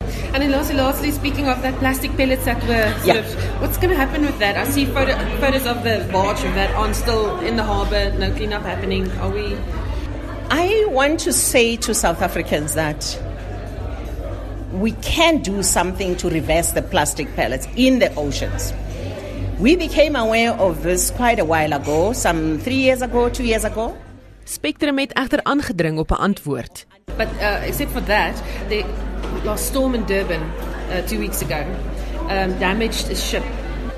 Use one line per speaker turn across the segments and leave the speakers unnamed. And then lastly, lastly, speaking of that plastic pellets that were, sort
Yeah.
of, what's going to happen with that? I see photo, photos of the barge of that on still in the harbour, no cleanup happening. Are we?
I want to say to South Africans that we can do something to reverse the plastic pellets in the oceans. We became aware of this quite a while ago, some three years ago, two years ago.
Spectrum het egter aangedring op 'n antwoord.
But uh, except for that, the last storm in Durban uh, two weeks ago um, damaged a ship.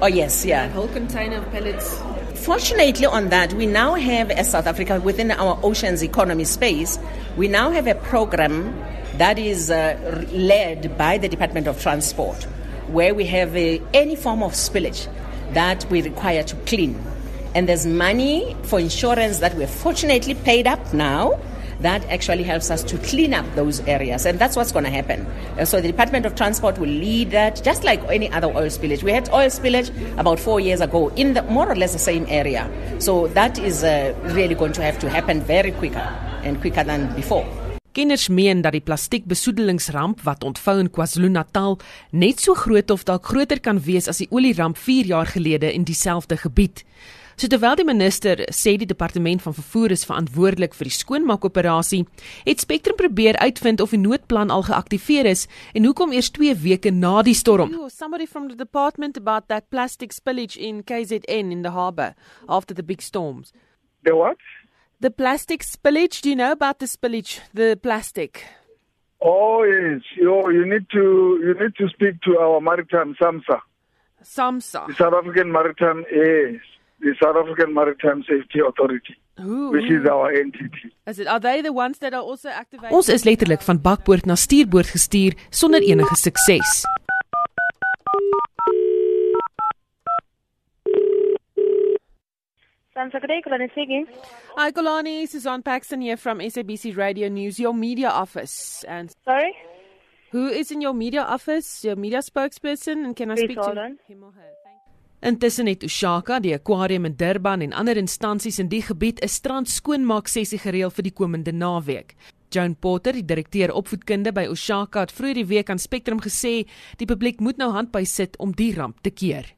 Oh, yes,
That
yeah.
whole container of pellets.
Fortunately, on that, we now have, as South Africa, within our oceans economy space, we now have a program that is uh, r- led by the Department of Transport, where we have uh, any form of spillage that we require to clean. And there's money for insurance that we're fortunately paid up now that actually helps us to clean up those areas. And that's what's going to happen. Uh, So the Department of Transport will lead that, just like any other oil spillage. We had oil spillage about four years ago in the, more or less the same area. So that is uh, really going to have to happen very quicker and quicker than before.
Kenners meen dat die plastiekbesoedelingsramp wat ontvou in KwaZulu-Natal net so groot of dalk groter kan wees as die olieramp 4 jaar gelede in dieselfde gebied. So terwyl die minister sê die departement van vervoer is verantwoordelik vir die skoonmaakoperasie, het Spectrum probeer uitvind of die noodplan al geaktiveer is en hoekom eers 2 weke na die storm.
You or somebody from the department about that plastic spillage in KZN in the harbour after the big storms.
The what?
The plastic spillage, do you know about the spillage? The plastic.
Oh yes, you, you need to you need to speak to our maritime SAMSA, the
SAMSA.
South African Maritime yes, the South African Maritime Safety Authority,
Who?
which is our entity.
Is it, are they the ones that are also activated?
Ons is letterlik van bakboord na stuurboord gestuur sonder enige sukses.
Sounds like a day, Colin speaking.
Hi, Kalani. Suzanne Paxton here from SABC Radio News, your media office. And
Sorry?
who is in your media office? Your media spokesperson? And can I
Please
speak
hold
to
on.
him or her? Thank
Intussen het Ushaka, die akwarium in Durban en ander instansies in die gebied 'n strand skoonmaak sessie gereël vir die komende naweek. Joan Potter, die direkteur opvoedkunde by Ushaka, het vroeër die week aan Spectrum gesê die publiek moet nou handby sit om die ramp te keer.